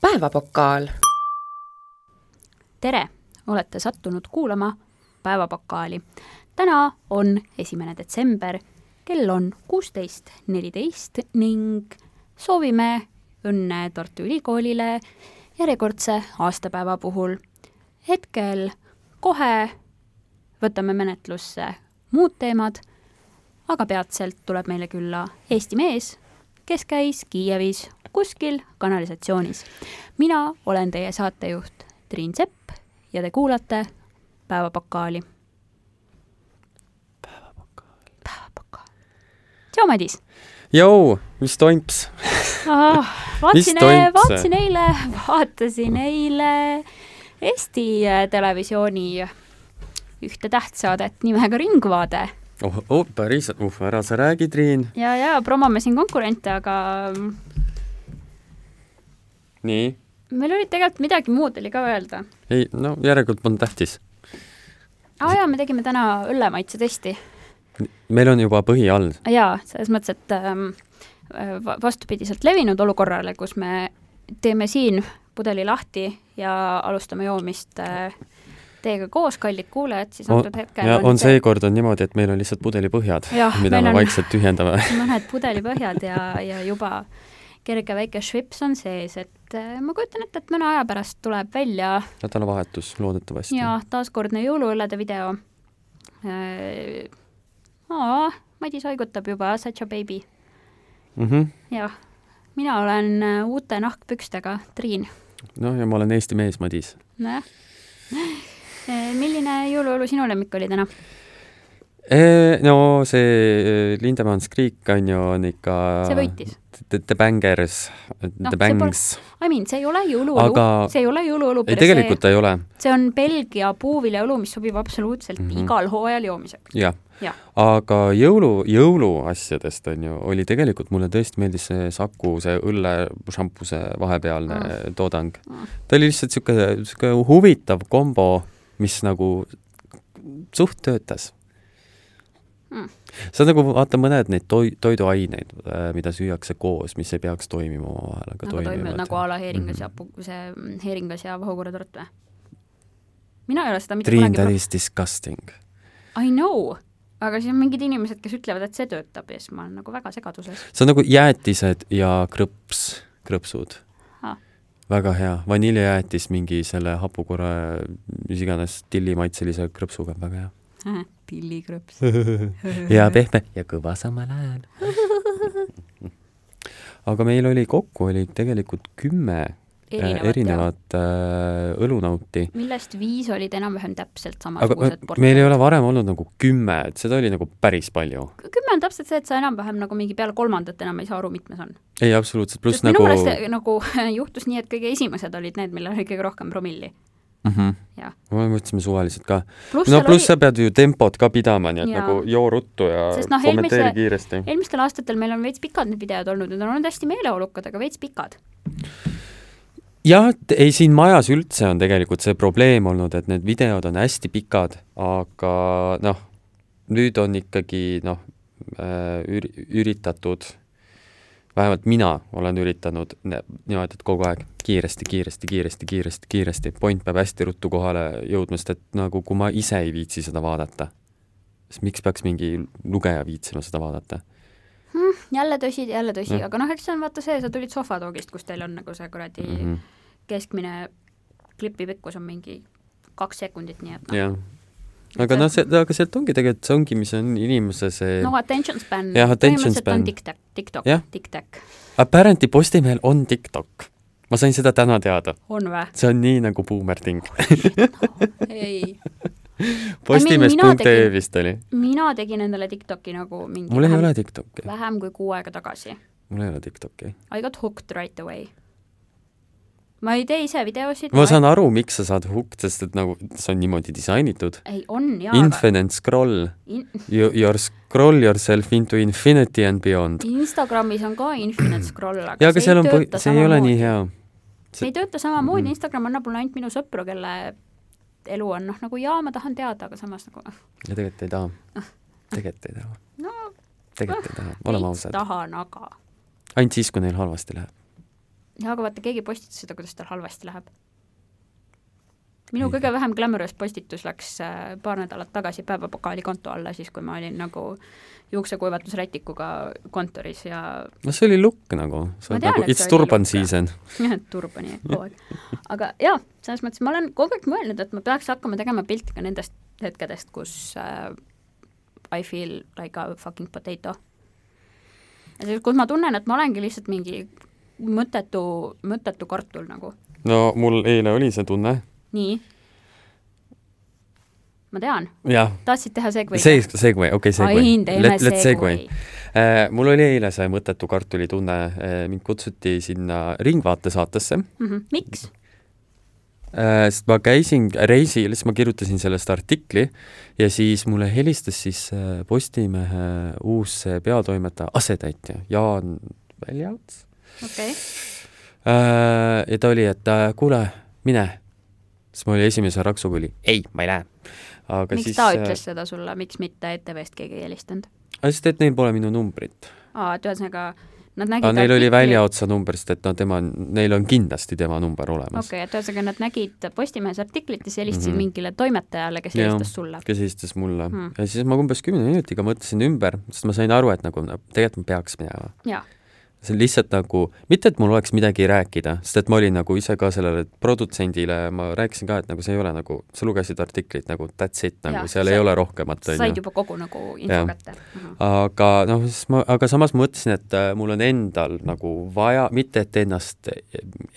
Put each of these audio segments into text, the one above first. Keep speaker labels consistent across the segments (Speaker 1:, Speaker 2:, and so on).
Speaker 1: päevapokaal .
Speaker 2: tere, olete sattunud kuulama Päevapakaali . täna on esimene detsember , kell on kuusteist neliteist ning soovime õnne Tartu Ülikoolile järjekordse aastapäeva puhul . hetkel kohe võtame menetlusse muud teemad , aga peatselt tuleb meile külla Eesti mees , kes käis Kiievis kuskil kanalisatsioonis . mina olen teie saatejuht Triin Sepp ja te kuulate Päevapakaali . päevapakaal . päevapakaal . tšau , Madis
Speaker 3: jõu , mis toimps ?
Speaker 2: ah, . vaatasin
Speaker 3: Mis toimub ,
Speaker 2: vaatasin eile , vaatasin eile Eesti äh, Televisiooni ühte tähtsaadet nimega Ringvaade
Speaker 3: oh, , oh, päris , uh , ära sa räägi , Triin .
Speaker 2: ja , ja promome siin konkurente , aga
Speaker 3: nii ,
Speaker 2: meil oli tegelikult midagi muud oli ka öelda .
Speaker 3: ei no järelikult polnud tähtis .
Speaker 2: aa jaa , me tegime täna õllemaitsetesti
Speaker 3: meil on juba põhi all .
Speaker 2: jaa , selles mõttes , et ähm, va- vastupidiselt levinud olukorrale , kus me teeme siin pudeli lahti ja alustame joomist äh, teiega koos , kallid kuulajad , siis
Speaker 3: on,
Speaker 2: antud hetkel
Speaker 3: ja on seekord on niimoodi , et meil on lihtsalt pudelipõhjad
Speaker 2: Jah, ,
Speaker 3: mida
Speaker 2: meil
Speaker 3: me
Speaker 2: on-
Speaker 3: vaikselt tühjendame .
Speaker 2: mõned pudelipõhjad ja , ja juba kerge väike švips on sees , et äh, ma kujutan ette , et mõne aja pärast tuleb välja
Speaker 3: nädalavahetus loodetavasti .
Speaker 2: ja taaskordne jõuluõllede video äh, . aa , Madis haigutab juba , such a baby ,
Speaker 3: Mm -hmm.
Speaker 2: jah . mina olen äh, uute nahkpükstega Triin
Speaker 3: noh , ja ma olen Eesti mees , Madis .
Speaker 2: nojah . milline jõuluolu sinu lemmik oli täna ?
Speaker 3: no see eh, Lindemanns Kriik on ju , on ikka
Speaker 2: see võitis .
Speaker 3: The, the Bangers ,
Speaker 2: Noh,
Speaker 3: The
Speaker 2: see
Speaker 3: Bangs .
Speaker 2: I mean , see ei ole jõuluolu
Speaker 3: Aga-
Speaker 2: Aga... , see ei ole jõuluolu ,
Speaker 3: ei , tegelikult
Speaker 2: see,
Speaker 3: ta ei ole ,
Speaker 2: see on Belgia puuviljaõlu , mis sobib absoluutselt mm
Speaker 3: Mhm.
Speaker 2: -hmm. igal hooajal joomiseks .
Speaker 3: jah
Speaker 2: jah ,
Speaker 3: aga jõulu , jõuluasjadest on ju , oli tegelikult mulle tõesti meeldis see Saku , see õllešampuse vahepealne
Speaker 2: Mm.
Speaker 3: toodang
Speaker 2: Mm. .
Speaker 3: ta oli lihtsalt niisugune , niisugune huvitav kombo , mis nagu suht töötas
Speaker 2: Mm.
Speaker 3: mm. . see on nagu , vaata mõned neid toi- , toiduaineid , mida süüakse koos , mis ei peaks toimima omavahel , aga
Speaker 2: nagu toimivad
Speaker 3: toimivad . Mhm.
Speaker 2: nagu a la heeringas ja pu- , see mm, heeringas ja vahukorratort või ? mina ei ole seda mitte
Speaker 3: Triin , that
Speaker 2: kunagi
Speaker 3: is disgusting .
Speaker 2: pro- I know , aga siis on mingid inimesed , kes ütlevad , et see töötab ja siis ma olen nagu väga segaduses .
Speaker 3: see on nagu jäätised ja krõps , krõpsud
Speaker 2: Ah. .
Speaker 3: väga hea , vaniljejäätis mingi selle hapukorra , mis iganes tillimaitselise krõpsuga , väga hea .
Speaker 2: pillikrõps .
Speaker 3: Äh, ja pehme ja kõva samal ajal . aga meil oli kokku , oli tegelikult kümme erinevat,
Speaker 2: Erinevat,
Speaker 3: erinevat äh, õlunauti ,
Speaker 2: millest viis olid enam-vähem täpselt
Speaker 3: aga äh,
Speaker 2: samasugused
Speaker 3: me- meil ei ole varem olnud nagu kümme , et seda oli nagu päris palju .
Speaker 2: Kü- kümme on täpselt see , et sa enam-vähem nagu mingi peale kolmandat enam ei saa aru , mitmes on .
Speaker 3: ei , absoluutselt ,
Speaker 2: sest
Speaker 3: pluss
Speaker 2: minu
Speaker 3: nagu
Speaker 2: nagu... meelest nagu juhtus nii , et kõige esimesed olid need , millel oli kõige rohkem promilli .
Speaker 3: Mhm.
Speaker 2: jah.
Speaker 3: me mõtlesime suvaliselt ka .
Speaker 2: Pluss
Speaker 3: no
Speaker 2: seal
Speaker 3: pluss
Speaker 2: oli-
Speaker 3: oli... sa pead ju tempot ka pidama , nii et
Speaker 2: Jaa.
Speaker 3: ja. nagu joo ruttu ja
Speaker 2: Sest noh,
Speaker 3: noh, kommenteeri
Speaker 2: eelmise- e-
Speaker 3: eelmise... kiiresti .
Speaker 2: eelmistel aastatel meil on veits pikad need videod olnud , need on olnud hästi meeleolukad , aga veits pikad .
Speaker 3: jah , ei siin majas üldse on tegelikult see probleem olnud , et need videod on hästi pikad , aga noh , nüüd on ikkagi noh , üri- , üritatud , vähemalt mina olen üritanud ne- niimoodi , et kogu aeg kiiresti , kiiresti , kiiresti , kiiresti , kiiresti , point peab hästi ruttu kohale jõudma , sest et nagu kui ma ise ei viitsi seda vaadata , siis miks peaks mingi lugeja viitsima seda vaadata ?
Speaker 2: jälle tõsi , jälle tõsi ,
Speaker 3: Jah.
Speaker 2: aga noh , eks see on vaata see , sa tulid sohvatoogist , kus teil on nagu see kuradi mm
Speaker 3: Mhm.
Speaker 2: -hmm. keskmine klipi pikkus on mingi kaks sekundit , nii et noh
Speaker 3: jah . aga noh , see , aga sealt ongi tegelikult , see ongi , mis on inimese see
Speaker 2: no attention span
Speaker 3: Jah, attention
Speaker 2: põhimõtteliselt on
Speaker 3: span.
Speaker 2: tiktak , tiktok
Speaker 3: Jah. ,
Speaker 2: tiktak ,
Speaker 3: Apparently Postimehel on TikTok . ma sain seda täna teada .
Speaker 2: on või ?
Speaker 3: see on nii nagu buumerding .
Speaker 2: ei mina
Speaker 3: postimees.ee
Speaker 2: tegin-
Speaker 3: vist oli .
Speaker 2: mina tegin endale TikToki nagu mingi
Speaker 3: mul ei
Speaker 2: vähem-
Speaker 3: ole TikTok'i .
Speaker 2: vähem kui kuu aega tagasi .
Speaker 3: mul ei ole TikTok'i .
Speaker 2: I got hooked right away . ma ei tee ise videosid .
Speaker 3: ma saan aru , miks sa saad hukk , sest et nagu see on niimoodi disainitud .
Speaker 2: ei , on jaa , aga
Speaker 3: Infinite scroll
Speaker 2: in,
Speaker 3: you, , your scroll yourself into infinity and beyond .
Speaker 2: Instagramis on ka infinite scroll , aga,
Speaker 3: ja aga seal on
Speaker 2: ei , tööta
Speaker 3: see ei ole nii hea .
Speaker 2: see ei tööta samamoodi , Instagram annab mulle ainult minu sõpru , kelle elu on noh , nagu jaa , ma tahan teada , aga samas nagu noh ,
Speaker 3: ja tegelikult ei taha . tegelikult ei taha .
Speaker 2: no
Speaker 3: tegelikult ei taha ,
Speaker 2: veits
Speaker 3: oleme ausad .
Speaker 2: tahan , aga
Speaker 3: ainult siis , kui neil halvasti läheb .
Speaker 2: jah , aga vaata , keegi postitas seda , kuidas tal halvasti läheb . minu kõige vähem glamourous postitus läks äh, paar nädalat tagasi päevapakaali konto alla , siis kui ma olin nagu juuksekuivatusrätikuga kontoris ja
Speaker 3: no see oli lukk nagu , sa
Speaker 2: Ma
Speaker 3: oled
Speaker 2: tean,
Speaker 3: nagu
Speaker 2: et see
Speaker 3: it's
Speaker 2: oli
Speaker 3: turban
Speaker 2: lukk.
Speaker 3: season .
Speaker 2: turbani kogu aeg . aga jaa , selles mõttes ma olen kogu aeg mõelnud , et ma peaks hakkama tegema pilte ka nendest hetkedest , kus äh, I feel like a fucking potato . kus ma tunnen , et ma olengi lihtsalt mingi mõttetu , mõttetu kartul nagu .
Speaker 3: no mul eile oli see tunne ,
Speaker 2: nii . ma tean ,
Speaker 3: jah ,
Speaker 2: tahtsid teha segway ?
Speaker 3: see , segway , okei ,
Speaker 2: Ain ,
Speaker 3: segway .
Speaker 2: teeme
Speaker 3: Let's segway Äh,
Speaker 2: segway ..
Speaker 3: mul oli eile see mõttetu kartulitunne , mind kutsuti sinna Ringvaate saatesse ,
Speaker 2: Mhm. miks ?
Speaker 3: äh, sest ma käisin reisil , siis ma kirjutasin sellest artikli ja siis mulle helistas siis äh, Postimehe uus äh, peatoimetaja , asetäitja Jaan Väljauts .
Speaker 2: okei okay. ,
Speaker 3: Äh, ja ta oli , et äh, kuule , mine . siis mul oli esimese raksuga oli ei , ma ei lähe . aga
Speaker 2: miks
Speaker 3: siis äh,
Speaker 2: ta ütles ? seda sulle , miks mitte ETV-st keegi ei helistanud ?
Speaker 3: sest et neil pole minu numbrit .
Speaker 2: aa , et ühesõnaga nad nägid
Speaker 3: aga neil oli . väljaotsa number , sest et no tema , neil on kindlasti tema number
Speaker 2: okei
Speaker 3: olemas okay. .
Speaker 2: okay, , et ühesõnaga nad nägid Postimehes artiklit ja siis helistasid mm
Speaker 3: Mhm.
Speaker 2: -hmm. mingile toimetajale , kes
Speaker 3: Jah.
Speaker 2: helistas sulle .
Speaker 3: kes helistas mulle
Speaker 2: Hmm.
Speaker 3: hmm. ja siis ma umbes kümne minutiga mõtlesin ümber , sest ma sain aru , et nagu no, tegelikult ma peaks minema .
Speaker 2: jaa ,
Speaker 3: see on lihtsalt nagu , mitte et mul oleks midagi rääkida , sest et ma olin nagu ise ka sellele produtsendile , ma rääkisin ka , et nagu see ei ole nagu , sa lugesid artiklit nagu that's it , nagu
Speaker 2: Jah,
Speaker 3: ja, seal
Speaker 2: sa-
Speaker 3: ei ole rohkemat , on ju
Speaker 2: said juba kogu nagu info
Speaker 3: Jah.
Speaker 2: kätte .
Speaker 3: aga noh , siis ma , aga samas ma mõtlesin , et äh, mul on endal nagu vaja , mitte et ennast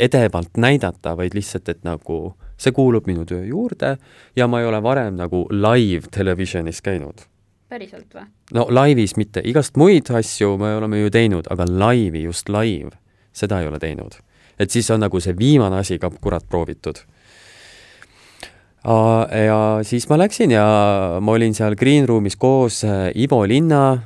Speaker 3: edevalt näidata , vaid lihtsalt , et nagu see kuulub minu töö juurde ja ma ei ole varem nagu live televisionis käinud .
Speaker 2: päriselt või ?
Speaker 3: no laivis mitte , igast muid asju me oleme ju teinud , aga laivi , just live , seda ei ole teinud . et siis on nagu see viimane asi ka kurat proovitud . ja siis ma läksin ja ma olin seal Green Room'is koos äh, Ivo Linna ,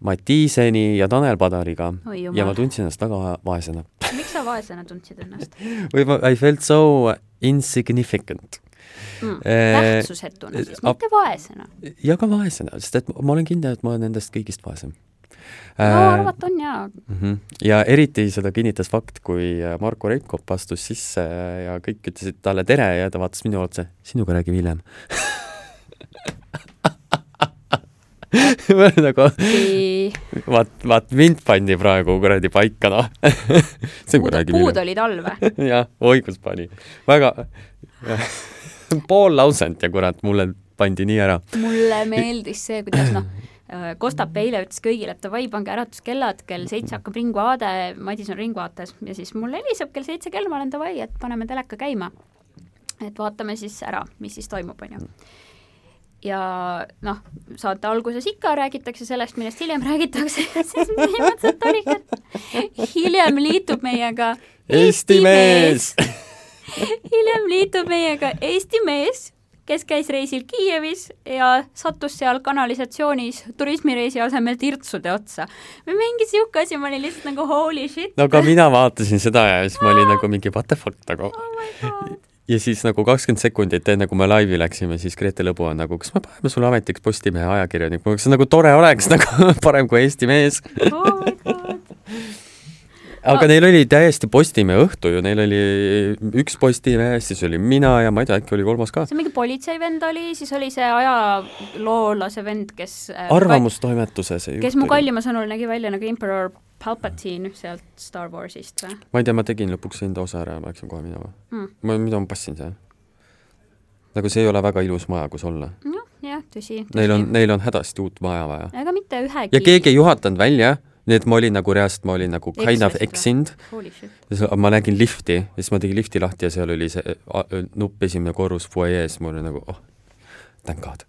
Speaker 3: Matiiseni ja Tanel Padariga
Speaker 2: oi
Speaker 3: ja ma
Speaker 2: jumal ,
Speaker 3: tundsin ennast väga vaesena .
Speaker 2: miks sa vaesena tundsid ennast
Speaker 3: või ma , I felt so insignificant
Speaker 2: mm. ?
Speaker 3: Eh,
Speaker 2: tähtsusetuna siis ,
Speaker 3: ap-
Speaker 2: mitte vaesena .
Speaker 3: ja ka vaesena , sest et ma olen kindel , et ma olen nendest kõigist vaesem . Äh,
Speaker 2: no arvata on jaa ,
Speaker 3: Mhm. ja eriti seda kinnitas fakt , kui äh, Marko Reikop astus sisse äh, ja kõik ütlesid talle tere ja ta vaatas minu otsa , sinuga räägime hiljem . ma olen nagu ,
Speaker 2: kui
Speaker 3: vaat , vaat mind pandi praegu kuradi paika , noh . sinuga
Speaker 2: puud,
Speaker 3: räägime
Speaker 2: puud
Speaker 3: hiljem .
Speaker 2: olid all või ?
Speaker 3: jah , oi kus pani , väga pool lauset ja kurat , mulle pandi nii ära .
Speaker 2: mulle meeldis see , kuidas noh , Kostap eile ütles kõigile , et davai , pange äratuskellad , kell seitse hakkab Ringvaade , Madis on Ringvaates ja siis mul heliseb kell seitse kell , ma olen davai , et paneme teleka käima . et vaatame siis ära , mis siis toimub , on ju . ja noh , saate alguses ikka räägitakse sellest , millest hiljem räägitakse , siis põhimõtteliselt oligi , et hiljem liitub meiega
Speaker 3: Eesti mees !
Speaker 2: hiljem liitub meiega Eesti mees , kes käis reisil Kiievis ja sattus seal kanalisatsioonis turismireisi asemel tirtsude otsa . või mingi sihuke asi , ma olin lihtsalt nagu holy shit ,
Speaker 3: no ka mina vaatasin seda ja siis ma olin nagu mingi what the fuck nagu
Speaker 2: oh my god .
Speaker 3: ja siis nagu kakskümmend sekundit enne , kui me laivi läksime , siis Grete Lõbu on nagu , kas me paneme sulle ametiks Postimehe ajakirjanikuks , nagu tore oleks nagu parem kui Eesti mees .
Speaker 2: Oh my god ,
Speaker 3: aga neil oli täiesti Postimehe õhtu ju , neil oli üks Postimees , siis oli mina ja ma ei tea , äkki oli kolmas ka .
Speaker 2: see mingi politseivend oli , siis oli see ajaloolase vend , kes äh,
Speaker 3: arvamustoimetuse see
Speaker 2: kes mu . kallima sõnul nägi välja nagu Emperor Palpatine sealt Star Warsist või
Speaker 3: ma ei tea , ma tegin lõpuks enda osa ära ja ma läksin kohe minema .
Speaker 2: hmm. ?
Speaker 3: ma , mida ma passin seal ? nagu see ei ole väga ilus maja , kus olla .
Speaker 2: noh , jah , tõsi .
Speaker 3: Neil on , neil on hädasti uut maja vaja .
Speaker 2: ega mitte ühegi .
Speaker 3: ja keegi ei juhatanud välja , nii et ma olin nagu reast , ma olin nagu kind of
Speaker 2: Eksisid või?
Speaker 3: eksinud
Speaker 2: Holy shit .
Speaker 3: Ja siis ma nägin lifti ja siis ma tegin lifti lahti ja seal oli see a- nupp esimene korrus fuajees , ma olin nagu oh , thank god .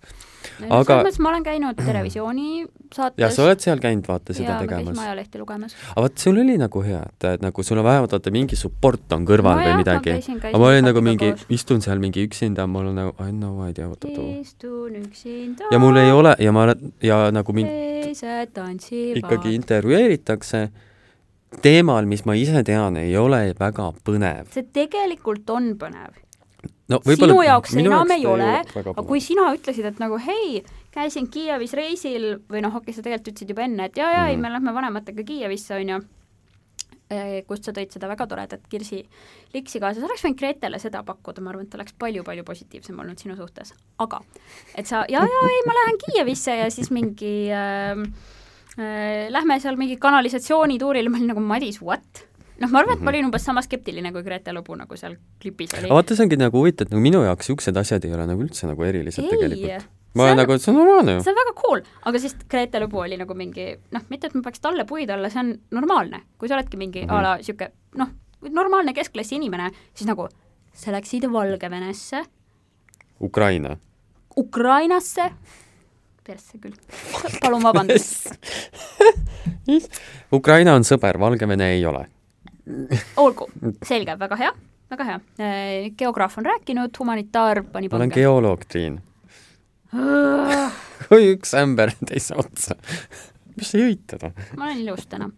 Speaker 2: aga
Speaker 3: Aga-
Speaker 2: selles mõttes ma olen käinud Televisiooni saates
Speaker 3: ja sa oled seal käinud , vaata
Speaker 2: ja
Speaker 3: seda ja,
Speaker 2: ma käisin
Speaker 3: tegemas .
Speaker 2: ajalehti lugemas .
Speaker 3: aga vot sul oli nagu hea , et , et nagu sul on vähemalt vaata mingi support on kõrval
Speaker 2: No
Speaker 3: no või
Speaker 2: jah, ma
Speaker 3: midagi .
Speaker 2: käisin- käisin
Speaker 3: aga ma olin nagu
Speaker 2: papiga
Speaker 3: mingi
Speaker 2: koos. ,
Speaker 3: istun seal mingi üksinda , mul on nagu I no I tea what to do .
Speaker 2: istun üksinda .
Speaker 3: ja mul ei ole ja ma olen ja nagu mind
Speaker 2: teised tantsivad .
Speaker 3: ikkagi intervjueeritakse teemal , mis ma ise tean , ei ole väga põnev .
Speaker 2: see tegelikult on põnev .
Speaker 3: no
Speaker 2: sinu jaoks see
Speaker 3: minu
Speaker 2: enam ei
Speaker 3: ta
Speaker 2: ole ,
Speaker 3: väga
Speaker 2: aga
Speaker 3: põnev.
Speaker 2: kui sina ütlesid , et nagu hei , käisin Kiievis reisil või noh , okei , sa tegelikult ütlesid juba enne , et jaa , jaa , ei ,
Speaker 3: Mhm.
Speaker 2: me lähme vanematega Kiievisse , on ju , eh, kust sa tõid seda väga toredat Kirsi liksi kaasa, sa oleks võinud Gretele seda pakkuda, ma arvan, et ta oleks palju-palju positiivsem olnud sinu suhtes, aga et sa ja, ja ei, ma lähen Kiievisse ja siis mingi äh, äh, lähme seal mingi kanalisatsioonituurile, ma olin nagu Madis, what? noh, ma arvan, et ma olin umbes sama skeptiline kui Grete Lubu nagu seal klipis oli.
Speaker 3: Mhm. aga vaata , see ongi nagu huvitav , et nagu minu jaoks niisugused asjad ei ole nagu üldse nagu erilised
Speaker 2: Ei.
Speaker 3: tegelikult .
Speaker 2: See
Speaker 3: ma
Speaker 2: on-
Speaker 3: olen nagu , see on normaalne ju .
Speaker 2: see on väga cool , aga sest Grete Lõbu oli nagu mingi noh , mitte et ma peaks talle puid alla , see on normaalne , kui sa oledki mingi
Speaker 3: Mhm.
Speaker 2: mm -hmm. a la niisugune noh , normaalne keskklassi inimene , siis nagu sa läksid Valgevenesse ,
Speaker 3: Ukraina .
Speaker 2: Ukrainasse , persse küll , palun vabandust ,
Speaker 3: Ukraina on sõber , Valgevene ei ole .
Speaker 2: olgu , selge , väga hea , väga hea . geograaf on rääkinud , humanitaar pani
Speaker 3: ma olen
Speaker 2: pange . Ah,
Speaker 3: geoloog , Triin . oi , üks ämber teise otsa . mis sa jõid teda ?
Speaker 2: ma olen ilus täna ,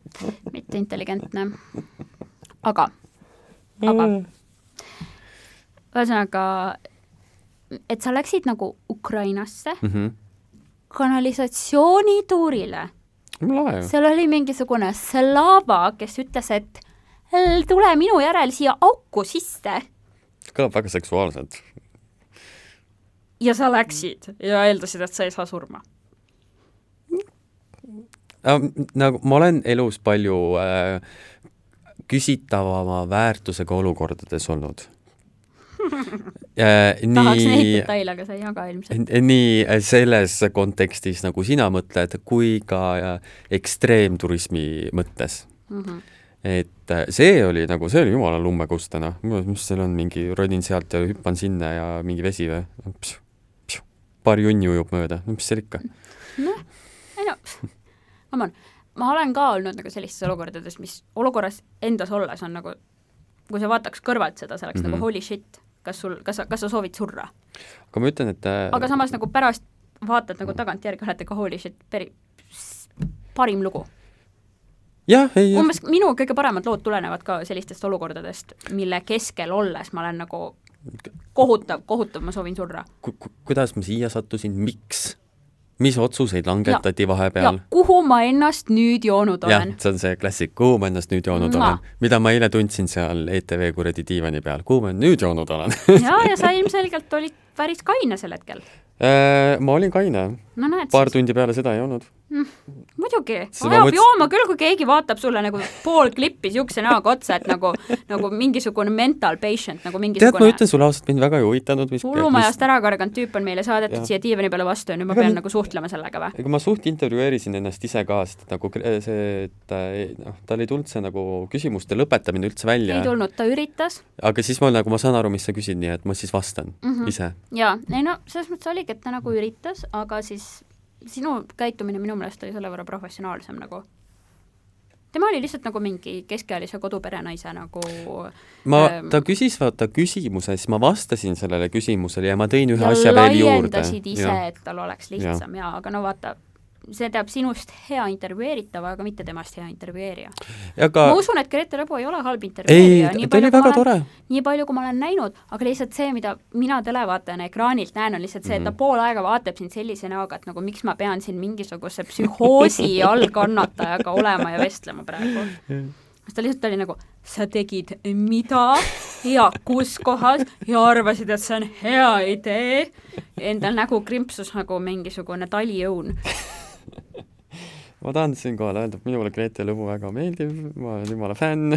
Speaker 2: mitte intelligentne . aga , aga ühesõnaga , et sa läksid nagu Ukrainasse
Speaker 3: Mhm.
Speaker 2: kanalisatsioonituurile ,
Speaker 3: lahe ju .
Speaker 2: seal oli mingisugune slaava , kes ütles , et "L- tule minu järel siia auku sisse
Speaker 3: kõlab väga seksuaalselt .
Speaker 2: ja sa läksid ja eeldasid , et sa ei saa surma .
Speaker 3: nagu ma olen elus palju äh, küsitavama väärtusega olukordades olnud äh, .
Speaker 2: tahaks neid
Speaker 3: nii ,
Speaker 2: detaile , aga sa ei jaga ilmselt .
Speaker 3: nii äh, selles kontekstis , nagu sina mõtled , kui ka äh, ekstreemturismi mõttes
Speaker 2: Mhm.
Speaker 3: et äh, see oli nagu , see oli jumala lummekust täna , mis seal on , mingi ronin sealt ja hüppan sinna ja mingi vesi või ? paar junni ujub mööda , no mis seal ikka .
Speaker 2: noh , ei no , come on , ma olen ka olnud nagu sellistes olukordades , mis olukorras endas olles on nagu , kui sa vaataks kõrvalt seda , see oleks mm -hmm.
Speaker 3: Mhm.
Speaker 2: nagu holy shit , kas sul , kas sa , kas sa soovid surra ,
Speaker 3: aga ma ütlen , et äh,
Speaker 2: aga samas nagu pärast vaatad nagu tagantjärgi , oled nagu holy shit , peri- , parim lugu .
Speaker 3: jah , ei ,
Speaker 2: umbes minu kõige paremad lood tulenevad ka sellistest olukordadest , mille keskel olles ma olen nagu kohutav , kohutav , ma soovin surra .
Speaker 3: ku, ku, kuidas ma siia sattusin , miks , mis otsuseid langetati ja,
Speaker 2: ja
Speaker 3: vahepeal ,
Speaker 2: kuhu ma ennast nüüd joonud
Speaker 3: jah
Speaker 2: olen ,
Speaker 3: see on see klassik , kuhu ma ennast nüüd joonud
Speaker 2: Ma.
Speaker 3: olen , mida ma eile tundsin seal ETV kuradi diivani peal , kuhu ma nüüd joonud olen
Speaker 2: ja , ja sa ilmselgelt olid päris kaine sel hetkel .
Speaker 3: Äh, ma olin kaine ,
Speaker 2: no näed ,
Speaker 3: paar tundi peale seda ei olnud .
Speaker 2: muidugi ,
Speaker 3: Siis ma
Speaker 2: ajab
Speaker 3: mõtlesin-
Speaker 2: jooma küll , kui keegi vaatab sulle nagu pool klippi niisuguse näoga otsa , et nagu , nagu mingisugune mental patient , nagu
Speaker 3: tead , ma
Speaker 2: mingisugune
Speaker 3: ütlen sulle ausalt , mind väga ei huvitanud , mis mis-
Speaker 2: hullumajast ära karganud tüüp on meile saadetud
Speaker 3: Jah.
Speaker 2: siia diivani peale vastu ja nüüd ma
Speaker 3: Aga
Speaker 2: pean
Speaker 3: nüüd-
Speaker 2: nagu suhtlema sellega või ?
Speaker 3: ega ma suht intervjueerisin ennast ise ka , sest et nagu kre- see , et ta ei- noh , tal ei tulnud see nagu küsimuste lõpetamine üldse
Speaker 2: ei
Speaker 3: välja ,
Speaker 2: tulnud , ta üritas
Speaker 3: aga siis ma nagu , ma saan aru , mis sa küsid , nii et ma siis vastan mm
Speaker 2: Mhm.
Speaker 3: -hmm. ise .
Speaker 2: ja ei no selles mõttes oligi , et ta nagu üritas , aga siis sinu käitumine minu meelest oli selle võrra professionaalsem nagu . tema oli lihtsalt nagu mingi keskealise koduperenaise nagu
Speaker 3: ma
Speaker 2: Ähm. ,
Speaker 3: ta küsis vaata küsimuse , siis ma vastasin sellele küsimusele ja ma tõin ühe
Speaker 2: ja
Speaker 3: asja veel juurde .
Speaker 2: laiendasid ise , et tal oleks lihtsam ja, ja aga no vaata , see teab sinust hea intervjueeritava , aga mitte temast hea intervjueerija ka... .
Speaker 3: aga
Speaker 2: ma usun , et Grete Lõbu ei ole halb
Speaker 3: ei
Speaker 2: intervjueerija ,,
Speaker 3: ta oli väga tore .
Speaker 2: nii palju , kui ma olen näinud , aga lihtsalt see , mida mina televaatajana ekraanilt näen , on lihtsalt see ,
Speaker 3: Mhm.
Speaker 2: et ta pool aega vaatab sind sellise näoga , et nagu miks ma pean siin mingisuguse psühhoosi all kannatajaga olema ja vestlema praegu . siis ta lihtsalt oli nagu , sa tegid mida ja kus kohas ja arvasid , et see on hea idee . Endal nägu krimpsus nagu mingisugune taliõun .
Speaker 3: ma tahan siinkohal öelda , et minule Grete Lõbu väga meeldib , ma olen jumala fänn .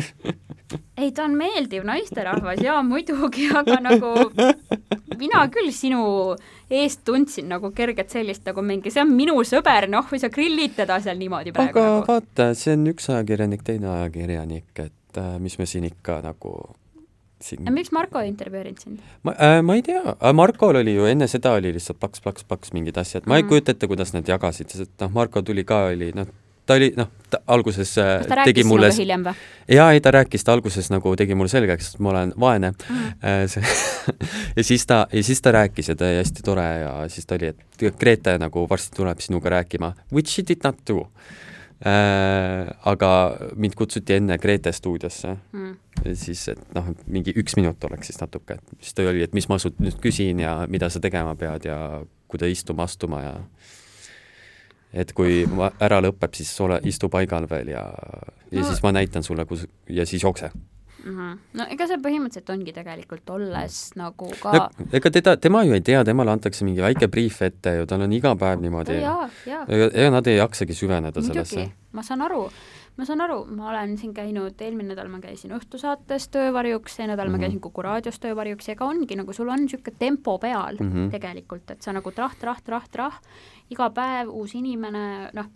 Speaker 2: ei , ta on meeldiv naisterahvas ja muidugi , aga nagu mina küll sinu eest tundsin nagu kerget sellist nagu mingi , see on minu sõber , noh , või sa grillid teda seal niimoodi praegu
Speaker 3: aga
Speaker 2: aga... nagu .
Speaker 3: vaata , see on üks ajakirjanik , teine ajakirjanik , et äh, mis me siin ikka nagu siin
Speaker 2: miks Marko ei intervjueerinud sind ?
Speaker 3: ma äh, , ma ei tea , Markol oli ju enne seda oli lihtsalt plaks , plaks , plaks mingid asjad , ma mm. ei
Speaker 2: Mhm.
Speaker 3: kujuta ette , kuidas nad jagasid , sest et noh , Marko tuli ka , oli noh , ta oli noh , ta alguses äh,
Speaker 2: kas ta
Speaker 3: tegi
Speaker 2: rääkis
Speaker 3: mulle
Speaker 2: sinuga , hiljem või ?
Speaker 3: jaa , ei ta rääkis , ta alguses nagu tegi mulle selgeks , et ma olen vaene äh, . See... ja siis ta , ja siis ta rääkis ja ta oli hästi tore ja siis ta oli , et Grete nagu varsti tuleb sinuga rääkima , which she did not do äh, . aga mind kutsuti enne Grete stuudiosse
Speaker 2: Mm,
Speaker 3: Ja siis , et noh , mingi üks minut oleks siis natuke , et siis ta oli , et mis ma sult nüüd küsin ja mida sa tegema pead ja kuidas istuma astuma ja et kui ma ära lõpeb, siis ole, istu paigal veel ja , ja
Speaker 2: No-
Speaker 3: siis ma näitan sulle , kus ja siis jookse .
Speaker 2: mhm. no ega see põhimõtteliselt ongi tegelikult olles nagu ka
Speaker 3: no ega teda , tema ju ei tea , temale antakse mingi väike briif ette ju , tal on iga päev niimoodi .
Speaker 2: jaa , jaa ,
Speaker 3: ega ega nad ei jaksagi süveneda
Speaker 2: muidugi
Speaker 3: sellesse .,
Speaker 2: ma saan aru , ma saan aru , ma olen siin käinud , eelmine nädal ma käisin Õhtusaates töövarjuks , see nädal mm -hmm. ma
Speaker 3: Mhm.
Speaker 2: käisin Kuku raadios töövarjuks , ega ongi nagu sul on niisugune tempo peal mm -hmm.
Speaker 3: Mhm.
Speaker 2: tegelikult , et sa nagu trah , trah , trah , trah , iga päev uus inimene , noh ,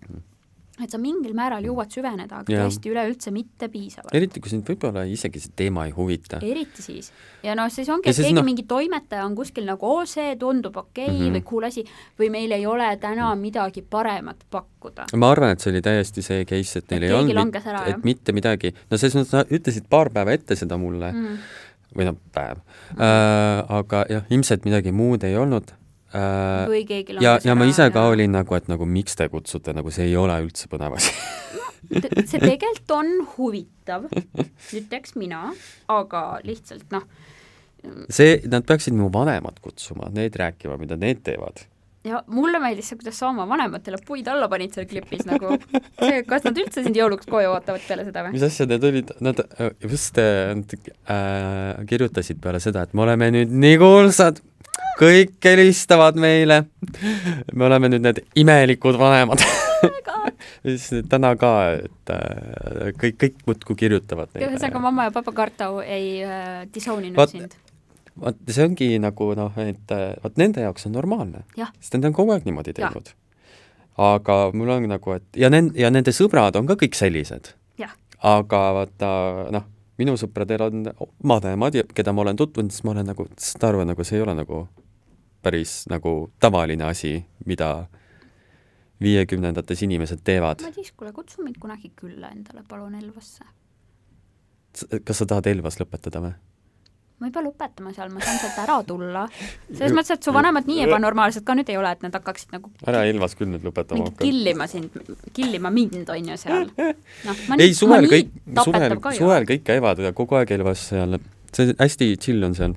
Speaker 2: et sa mingil määral jõuad süveneda , aga
Speaker 3: Jaa.
Speaker 2: tõesti üleüldse mitte piisavalt .
Speaker 3: eriti , kui sind võib-olla isegi see teema ei huvita .
Speaker 2: eriti siis . ja noh , siis ongi ,
Speaker 3: Ja
Speaker 2: et
Speaker 3: siis
Speaker 2: keegi no...
Speaker 3: noh-
Speaker 2: mingi toimetaja on kuskil nagu , oo , see tundub okei okay, mm -hmm.
Speaker 3: Mhm.
Speaker 2: või cool asi või meil ei ole täna midagi paremat pakkuda .
Speaker 3: ma arvan , et see oli täiesti see case , et
Speaker 2: Et
Speaker 3: neil ei
Speaker 2: keegi
Speaker 3: olnud
Speaker 2: langes , ära, jah?
Speaker 3: et mitte midagi , no selles mõttes nad ütlesid paar päeva ette seda mulle mm. ,
Speaker 2: Mm.
Speaker 3: või noh , päev äh, , aga jah , ilmselt midagi muud ei olnud äh, .
Speaker 2: või keegi langes
Speaker 3: ja , ja ma
Speaker 2: ära
Speaker 3: ise ka . olin nagu , et nagu miks te kutsute , nagu see ei ole üldse põnev asi .
Speaker 2: see tegelikult on huvitav , ütleks mina , aga lihtsalt noh ,
Speaker 3: see , nad peaksid mu vanemad kutsuma , need rääkima , mida need teevad .
Speaker 2: ja mulle meeldis see , kuidas sa oma vanematele puid alla panid seal klipis nagu , see , kas nad üldse sind jõuluks koju ootavad peale seda või ?
Speaker 3: mis asja need olid , nad äh, just äh, nad, äh, kirjutasid peale seda , et me oleme nüüd nii kuulsad , kõik helistavad meile . me oleme nüüd need imelikud vanemad . ja siis täna ka , et äh, kõik , kõik muudkui kirjutavad
Speaker 2: ühesõnaga ,
Speaker 3: neile .
Speaker 2: mamma ja papa Kartau ei äh, disooninud
Speaker 3: Vaat-
Speaker 2: Vaat... sind .
Speaker 3: vot see ongi nagu noh , et äh, vot nende jaoks on normaalne
Speaker 2: jah ,
Speaker 3: sest nad on kogu aeg niimoodi
Speaker 2: Jah.
Speaker 3: teinud . aga mul on nagu , et ja nend- , ja nende sõbrad on ka kõik sellised ,
Speaker 2: jah ,
Speaker 3: aga vaata noh , minu sõpradel on vanemad , keda ma olen tutvunud , siis ma olen nagu , saad aru , nagu see ei ole nagu päris nagu tavaline asi , mida viiekümnendates inimesed teevad .
Speaker 2: Madis , kuule , kutsu mind kunagi külla endale , palun Elvasse .
Speaker 3: kas sa tahad Elvas lõpetada või ?
Speaker 2: ma ei pea lõpetama seal , ma saan sealt ära tulla . selles mõttes , et su vanemad nii ebanormaalsed ka nüüd ei ole , et nad hakkaksid nagu
Speaker 3: ära Elvas küll nüüd lõpetama
Speaker 2: mingi
Speaker 3: hakka .
Speaker 2: killima sind , killima mind , on ju seal . noh , ma
Speaker 3: ei , suvel
Speaker 2: ma
Speaker 3: kõik ,
Speaker 2: tapetav
Speaker 3: suvel
Speaker 2: ka , ei ole .
Speaker 3: suvel kõik käivad ja kogu aeg Elvas seal , see hästi chill on seal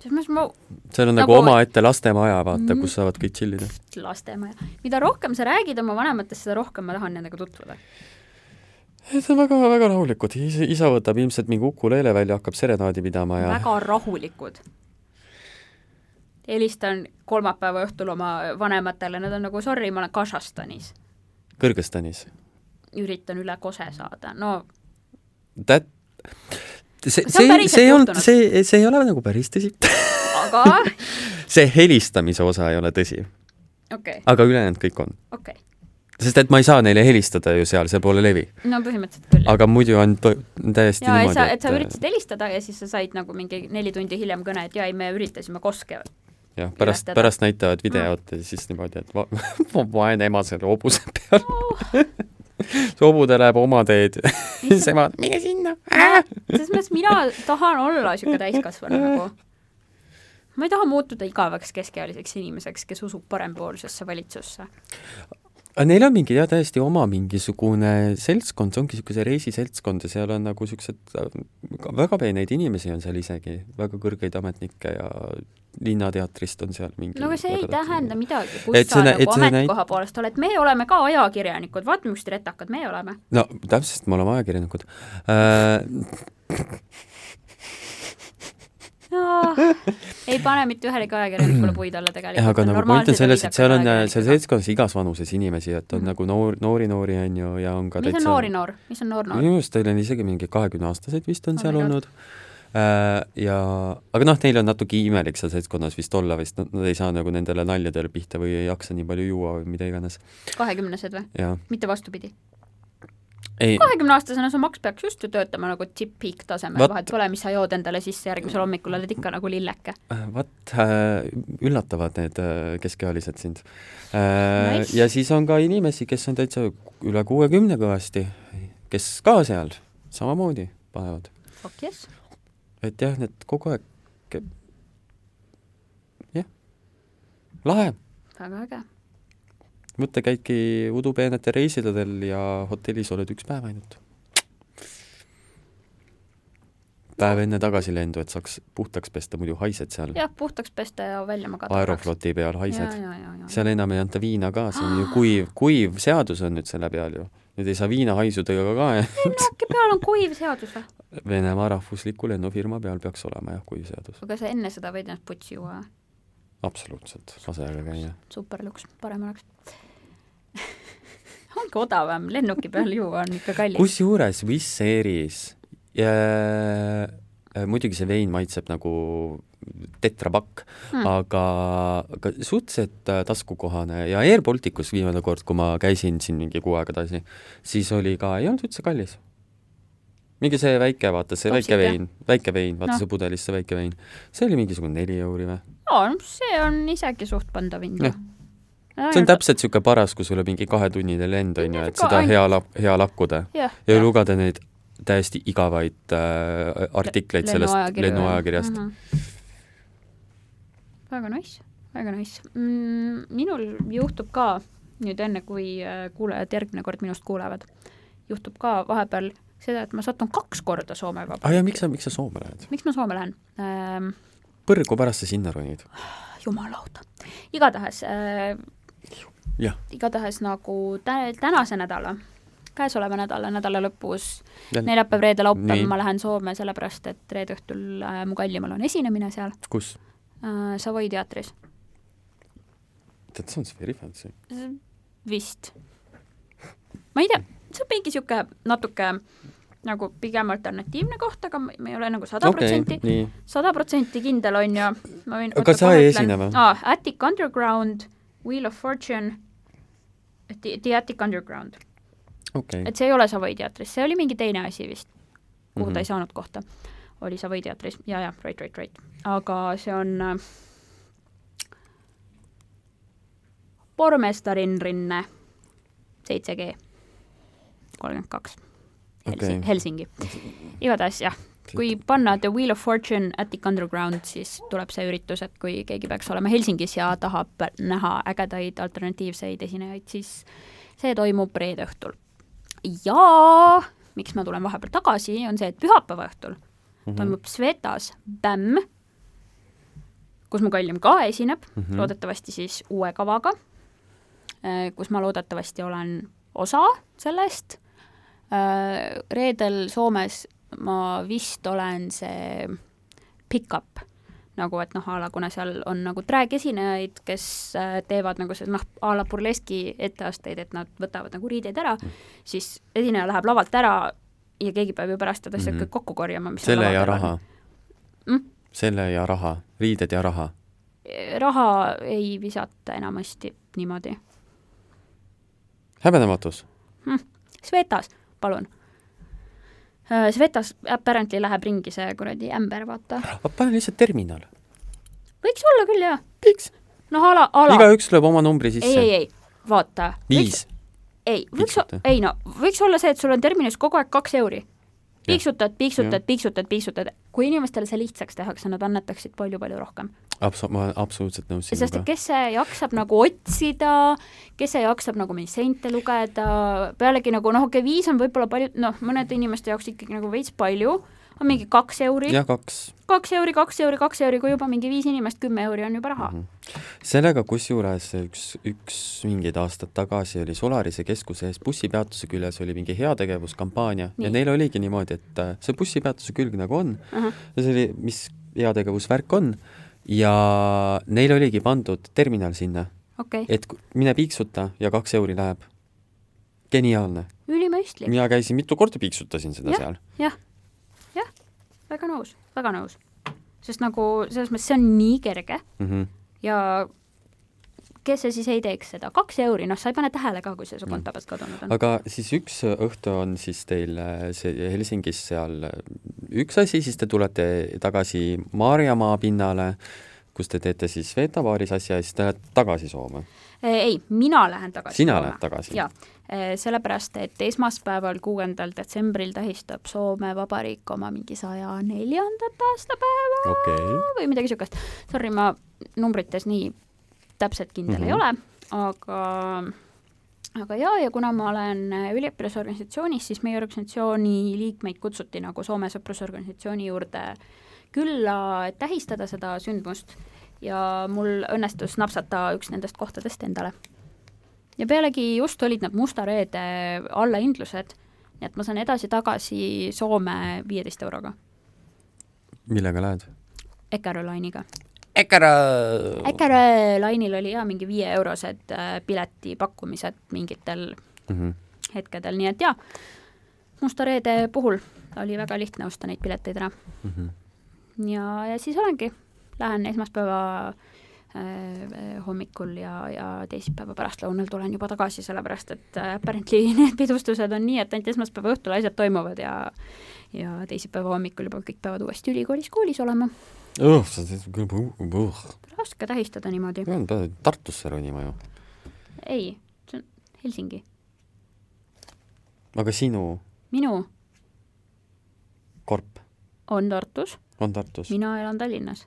Speaker 2: selles mõttes ma
Speaker 3: seal on nagu,
Speaker 2: Nagu-
Speaker 3: nagu omaette lastemaja , vaata
Speaker 2: Mhm.
Speaker 3: mm. , kus saavad kõik tšillida .
Speaker 2: lastemaja , mida rohkem sa räägid oma vanematest , seda rohkem ma tahan nendega tutvuda .
Speaker 3: see on väga-väga rahulikud , isa võtab ilmselt mingi ukuleele välja , hakkab serenaadi pidama ja
Speaker 2: väga rahulikud . helistan kolmapäeva õhtul oma vanematele , nad on nagu sorry , ma olen Kasahstanis .
Speaker 3: Kõrgõzstanis .
Speaker 2: üritan üle kose saada , no
Speaker 3: That , see ,
Speaker 2: Kas see on
Speaker 3: see ,
Speaker 2: päriselt
Speaker 3: see ei olnud ,
Speaker 2: juhtunud?
Speaker 3: see , see ei ole nagu päris tõsi .
Speaker 2: aga
Speaker 3: see helistamise osa ei ole tõsi ,
Speaker 2: okei ,
Speaker 3: aga ülejäänud kõik on .
Speaker 2: okei ,
Speaker 3: sest et ma ei saa neile helistada ju seal , see pole levi .
Speaker 2: no põhimõtteliselt küll .
Speaker 3: aga muidu on to- täiesti
Speaker 2: jaa , et
Speaker 3: niimoodi ,
Speaker 2: sa , et sa üritasid helistada ja siis sa said nagu mingi neli tundi hiljem kõne , et jaa , ei me üritasime koske .
Speaker 3: jah , pärast
Speaker 2: ületada. ,
Speaker 3: pärast näitavad videot ja siis niimoodi , et va- vaene ema selle hobuse peal .
Speaker 2: Oh.
Speaker 3: see hobune läheb oma teed . siis ema , mine sinna .
Speaker 2: Äh, selles mõttes mina tahan olla niisugune
Speaker 3: Äh.
Speaker 2: täiskasvanu nagu . ma ei taha muutuda igaveks keskealiseks inimeseks , kes usub parempoolsesse valitsusse .
Speaker 3: aga neil on mingi jah , täiesti oma mingisugune seltskond , see ongi niisugune reisiseltskond ja seal on nagu niisugused äh, ka- väga peeneid inimesi on seal isegi , väga kõrgeid ametnikke ja linnateatrist on seal mingi
Speaker 2: no aga see ei tähenda midagi ,
Speaker 3: Et
Speaker 2: kus
Speaker 3: see
Speaker 2: sa
Speaker 3: nä-
Speaker 2: nagu
Speaker 3: et see näit-
Speaker 2: ametikoha poolest oled , me oleme ka ajakirjanikud , vaata , millised retakad me oleme .
Speaker 3: no täpselt , me oleme ajakirjanikud äh, .
Speaker 2: Ah, ei pane mitte ühelegi ajakirjanikule puid alla
Speaker 3: jah ,
Speaker 2: tegelikult .
Speaker 3: aga nagu point on selles , et seal on äh, seal . seltskonnas igas vanuses inimesi , et on nagu noor , noori-noori on ju ja on ka
Speaker 2: Mhm. mis on noori noor , mis on noor noor ?
Speaker 3: minu arust teil on isegi mingi kahekümneaastaseid vist on
Speaker 2: Oh
Speaker 3: seal
Speaker 2: my God.
Speaker 3: olnud . ja , aga noh , neil on natuke imelik seal seltskonnas vist olla vist , nad nad ei saa nagu nendele naljadele pihta või ei jaksa nii palju juua või mida iganes
Speaker 2: kahekümnesed või ?
Speaker 3: ja
Speaker 2: mitte vastupidi .
Speaker 3: ei ,
Speaker 2: kahekümneaastasena su maks peaks just ju töötama nagu tipp-peak tasemel ,
Speaker 3: Vat-
Speaker 2: vahet pole , mis sa jood endale sisse järgmisel hommikul , oled ikka nagu lilleke .
Speaker 3: vot äh, üllatavad need äh, keskealised sind .
Speaker 2: Nice.
Speaker 3: ja siis on ka inimesi , kes on täitsa üle kuuekümne kõvasti , kes ka seal samamoodi panevad ,
Speaker 2: fuck yes .
Speaker 3: et jah , need kogu aeg , jah , lahe
Speaker 2: väga äge .
Speaker 3: mõte käidki udupeenete reisidel ja hotellis oled üks päev ainult . päev enne tagasilendu , et saaks puhtaks pesta , muidu haised seal
Speaker 2: jah , puhtaks pesta ja välja magada .
Speaker 3: aerofloti peal haised .
Speaker 2: haised .
Speaker 3: seal enam ei anta viina ka , see on ju kuiv , kuiv seadus on nüüd selle peal ju . nüüd ei saa viinahaisudega ka
Speaker 2: äkki peal on kuiv seadus või ?
Speaker 3: Venemaa rahvusliku lennufirma peal peaks olema jah , kuiv seadus .
Speaker 2: aga sa enne seda võid ennast putsi juua või ?
Speaker 3: absoluutselt , lase ära käia .
Speaker 2: superluks , parem oleks . ongi odavam , lennuki peal juua on ikka kallis Kus... .
Speaker 3: kusjuures Wizz Airis ja ja muidugi see vein maitseb nagu tetrapakk hmm. , aga , aga suhteliselt äh, taskukohane ja Air Balticus viimane kord , kui ma käisin siin mingi kuu aega tagasi , siis oli ka , ei olnud üldse kallis . mingi see väike , vaata see
Speaker 2: Topsid,
Speaker 3: väike
Speaker 2: jah?
Speaker 3: vein , väike vein , vaata
Speaker 2: Noh.
Speaker 3: no. see pudelis , see väike vein , see oli mingisugune neli euri või ?
Speaker 2: aa , no see on isegi suht pandav hind ju
Speaker 3: Jah. . see on . täpselt niisugune paras , kui sul on mingi kahetunnine lend , on ju , et
Speaker 2: Ka
Speaker 3: seda
Speaker 2: ainult-
Speaker 3: hea lap- , hea lakkuda
Speaker 2: jah ,
Speaker 3: ja lugeda neid täiesti igavaid äh, artikleid sellest lennuajakirjast mm .
Speaker 2: -hmm. väga nice , väga nice mm, . minul juhtub ka nüüd enne , kui äh, kuulajad järgmine kord minust kuulevad , juhtub ka vahepeal seda , et ma satun kaks korda Soome
Speaker 3: -hmm. aa
Speaker 2: vabariiki
Speaker 3: ja miks sa , miks sa Soome lähed ?
Speaker 2: miks ma Soome lähen ähm, ?
Speaker 3: põrgu pärast sa sinna ronid .
Speaker 2: jumal auto . igatahes äh,
Speaker 3: jah ,
Speaker 2: igatahes nagu tä- tänase nädala , käesoleva nädala nädala lõpus ,
Speaker 3: Jälle-
Speaker 2: neljapäev , reede , laupäev
Speaker 3: Nii.
Speaker 2: ma lähen Soome , sellepärast et reede õhtul äh, mu kallimal on esinemine seal
Speaker 3: kus ?
Speaker 2: äh, Savoy teatris ,
Speaker 3: tead , see on very fancy .
Speaker 2: vist . ma ei tea , see on mingi niisugune natuke nagu pigem alternatiivne koht , aga ma ma ei ole nagu sada protsenti ,
Speaker 3: nii .
Speaker 2: sada protsenti kindel on ju , ma võin
Speaker 3: Aga sa ei esine või?
Speaker 2: aa , Attic Underground , Wheel of Fortune , The, the Attic Underground .
Speaker 3: okei okay.
Speaker 2: et see ei ole Savoy teatris , see oli mingi teine asi vist , kuhu mm -hmm. ta
Speaker 3: Mhm.
Speaker 2: ei saanud kohta . oli Savoy teatris ja , ja right , right , right , aga see on äh, pormestarinrinne seitse G kolmkümmend kaks
Speaker 3: Okei.
Speaker 2: Helsingi . igatahes jah , kui panna The Wheel of Fortune Attic Underground , siis tuleb see üritus , et kui keegi peaks olema Helsingis ja tahab näha ägedaid alternatiivseid esinejaid , siis see toimub reede õhtul ja miks ma tulen vahepeal tagasi , on see , et pühapäeva õhtul mm -hmm. toimub Svetas bämm , kus mu kallim ka esineb mm ,
Speaker 3: Mhm.
Speaker 2: -hmm. loodetavasti siis uue kavaga , kus ma loodetavasti olen osa sellest . Reedel Soomes ma vist olen see pick-up nagu et noh , a la kuna seal on nagu track-esinejaid , kes äh, teevad nagu see noh , a la burleski etteasteid , et nad võtavad nagu riideid ära
Speaker 3: Mhm.
Speaker 2: mm. , siis esineja läheb lavalt ära ja keegi peab ju pärast seda asja
Speaker 3: Mhm.
Speaker 2: mm -hmm. kokku korjama , mis seal
Speaker 3: selle
Speaker 2: lava
Speaker 3: ja
Speaker 2: peal on.
Speaker 3: raha
Speaker 2: Mm?
Speaker 3: selle ja raha , riided ja raha .
Speaker 2: raha ei visata enamasti niimoodi .
Speaker 3: häbenematus .
Speaker 2: Hm, Svetas , palun . Svetas apparently läheb ringi see kuradi ämber , vaata .
Speaker 3: pane lihtsalt terminal .
Speaker 2: võiks olla küll jah ,
Speaker 3: miks ?
Speaker 2: noh a la , a la ,
Speaker 3: igaüks lööb oma numbri
Speaker 2: ei , ei ,
Speaker 3: sisse .
Speaker 2: ei , vaata .
Speaker 3: viis .
Speaker 2: ei , võiks
Speaker 3: Piiksuta. ,
Speaker 2: ei no , võiks olla see , et sul on terminis kogu aeg kaks euri .
Speaker 3: Jah.
Speaker 2: piiksutad ,
Speaker 3: Jah.
Speaker 2: piiksutad , piiksutad , piiksutad , kui inimestele see lihtsaks tehakse , nad annetaksid palju-palju rohkem .
Speaker 3: Abs- , ma olen absoluutselt nõus
Speaker 2: sest et
Speaker 3: sinuga .
Speaker 2: kes see jaksab nagu otsida , kes see jaksab nagu mingeid seinte lugeda , pealegi nagu noh , okei okay, , viis on võib-olla palju , noh , mõnede inimeste jaoks ikkagi nagu veits palju , on mingi kaks euri ,
Speaker 3: jah , kaks
Speaker 2: kaks euri , kaks euri , kaks euri , kui juba mingi viis inimest , kümme euri on juba
Speaker 3: Mhm.
Speaker 2: raha mm .
Speaker 3: sellega kusjuures üks , üks mingeid aastaid tagasi oli Solarise keskuse ees bussipeatuse küljes oli mingi heategevuskampaania ja
Speaker 2: Nii.
Speaker 3: neil oligi niimoodi , et äh, see bussipeatuse külg nagu on
Speaker 2: -hmm.
Speaker 3: ja see oli , mis heategevusvärk on ja neil oligi pandud terminal sinna ,
Speaker 2: okei okay. ,
Speaker 3: et ku- mine piiksuta ja kaks euri läheb . geniaalne ,
Speaker 2: ülimõistlik ,
Speaker 3: mina käisin mitu korda piiksutasin seda
Speaker 2: Jah.
Speaker 3: seal .
Speaker 2: jah , jah , väga nõus , väga nõus . sest nagu selles mõttes see on nii kerge
Speaker 3: Mm -hmm.
Speaker 2: ja kes see siis ei teeks seda , kaks euri , noh , sa ei pane tähele ka , kui see su konto pealt kadunud on .
Speaker 3: aga siis üks õhtu on siis teil äh, see Helsingis seal äh, üks asi , siis te tulete tagasi Maarjamaa pinnale , kus te teete siis Sveta baaris asja ja siis te lähete tagasi Soome .
Speaker 2: Eh, ei , mina lähen tagasi .
Speaker 3: Sina lähed tagasi?
Speaker 2: jaa , sellepärast et esmaspäeval , kuuendal detsembril tähistab Soome Vabariik oma mingi saja neljandat aastapäeva
Speaker 3: Okei.
Speaker 2: või midagi niisugust . Sorry , ma numbrites nii täpselt kindel mm -hmm. ei ole , aga aga jaa, ja kuna ma olen äh, üliõpilasorganisatsioonis, siis meie organisatsiooni liikmeid kutsuti nagu Soome sõprusorganisatsiooni juurde külla, et tähistada seda sündmust ja mul õnnestus napsata üks nendest kohtadest endale. ja pealegi just olid need Musta reede allahindlused, nii et ma saan edasi-tagasi Soome viieteist euroga,
Speaker 3: millega lähed ?
Speaker 2: Ekerö lainiga.
Speaker 1: Äkara .
Speaker 2: Ekerö äh, lainil oli jaa mingi viieeurosed äh, piletipakkumised mingitel
Speaker 3: Mm -hmm.
Speaker 2: hetkedel, nii et jaa, Musta reede puhul oli väga lihtne osta neid pileteid ära
Speaker 3: Mm -hmm.
Speaker 2: ja , ja siis olengi , lähen esmaspäeva äh, hommikul ja , ja teisipäeva pärastlõunal tulen juba tagasi , sellepärast et äh, apparently need pidustused on nii , et ainult esmaspäeva õhtul asjad toimuvad ja ja teisipäeva hommikul juba kõik peavad uuesti ülikoolis koolis olema .
Speaker 3: õh , sa teed küll , õh ,
Speaker 2: raske tähistada niimoodi .
Speaker 3: pead Tartusse ronima ju .
Speaker 2: ei , see on Helsingi .
Speaker 3: aga sinu
Speaker 2: minu
Speaker 3: korp
Speaker 2: on Tartus ,
Speaker 3: on Tartus ?
Speaker 2: mina elan Tallinnas .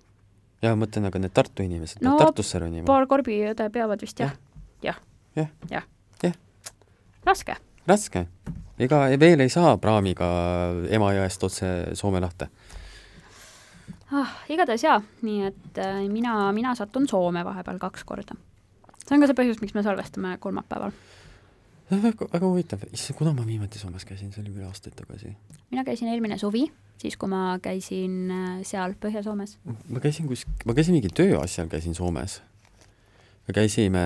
Speaker 3: jaa , ma mõtlen , aga need Tartu inimesed peavad
Speaker 2: No,
Speaker 3: no, Tartusse ronima .
Speaker 2: paar korbiõde peavad vist jah , jah ,
Speaker 3: jah ,
Speaker 2: jah .
Speaker 3: Jah. .
Speaker 2: raske ,
Speaker 3: raske . ega veel ei saa praamiga Emajõest otse Soome lahte .
Speaker 2: ah, . igatahes jaa , nii et äh, mina , mina satun Soome vahepeal kaks korda . see on ka see põhjus , miks me salvestame kolmapäeval .
Speaker 3: väga , väga huvitav . issand , kuna ma viimati Soomes käisin , see oli küll aastaid tagasi .
Speaker 2: mina käisin eelmine suvi , siis kui ma käisin äh, seal Põhja-Soomes .
Speaker 3: ma käisin kus , ma käisin mingi tööasjal , käisin Soomes . me käisime ,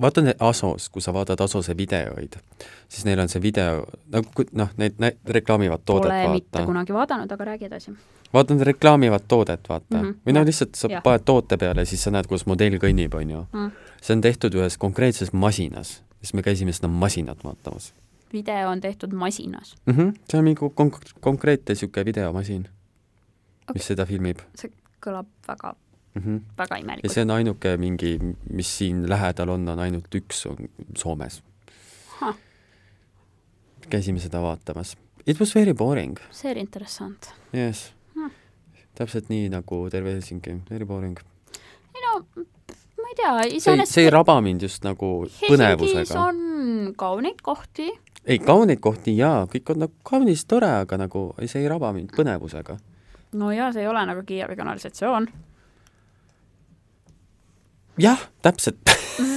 Speaker 3: vaata need Asos , kui sa vaatad Asose videoid , siis neil on see video , nagu noh , need näit- reklaamivad toodet ,
Speaker 2: Pole mitte
Speaker 3: vaata .
Speaker 2: kunagi vaadanud , aga räägi edasi .
Speaker 3: vaata , nad reklaamivad toodet , vaata mm .
Speaker 2: Mhm,
Speaker 3: -hmm. või no
Speaker 2: jah,
Speaker 3: lihtsalt sa
Speaker 2: jah. Mhm.
Speaker 3: paned toote peale ja siis sa näed , kuidas modell kõnnib , on ju . see on tehtud ühes konkreetses masinas . siis me käisime seda masinat vaatamas
Speaker 2: video on tehtud masinas .
Speaker 3: mm . -hmm. see on mingi konk- , konkreetne niisugune videomasin okay. ,
Speaker 2: Okei.
Speaker 3: mis seda filmib
Speaker 2: see kõlab väga ,
Speaker 3: mm . -hmm
Speaker 2: väga
Speaker 3: ja see
Speaker 2: imelikult .
Speaker 3: on ainuke mingi , mis siin lähedal on , on ainult üks , on Soomes
Speaker 2: Huh. .
Speaker 3: käisime seda vaatamas . It was very boring ,
Speaker 2: see oli interessant .
Speaker 3: yes
Speaker 2: Hmm. .
Speaker 3: täpselt nii nagu terve Helsingi , very boring .
Speaker 2: ei no , ma ei tea ,
Speaker 3: see ei ,
Speaker 2: iseenesest
Speaker 3: see ei raba mind just nagu
Speaker 2: Helsingis
Speaker 3: põnevusega .
Speaker 2: on kauneid kohti ,
Speaker 3: ei , kauneid kohti jaa , kõik on nagu kaunis tore , aga nagu ei, see ei raba mind põnevusega .
Speaker 2: no jaa , see ei ole nagu Kiievi kanalisatsioon .
Speaker 3: jah , täpselt .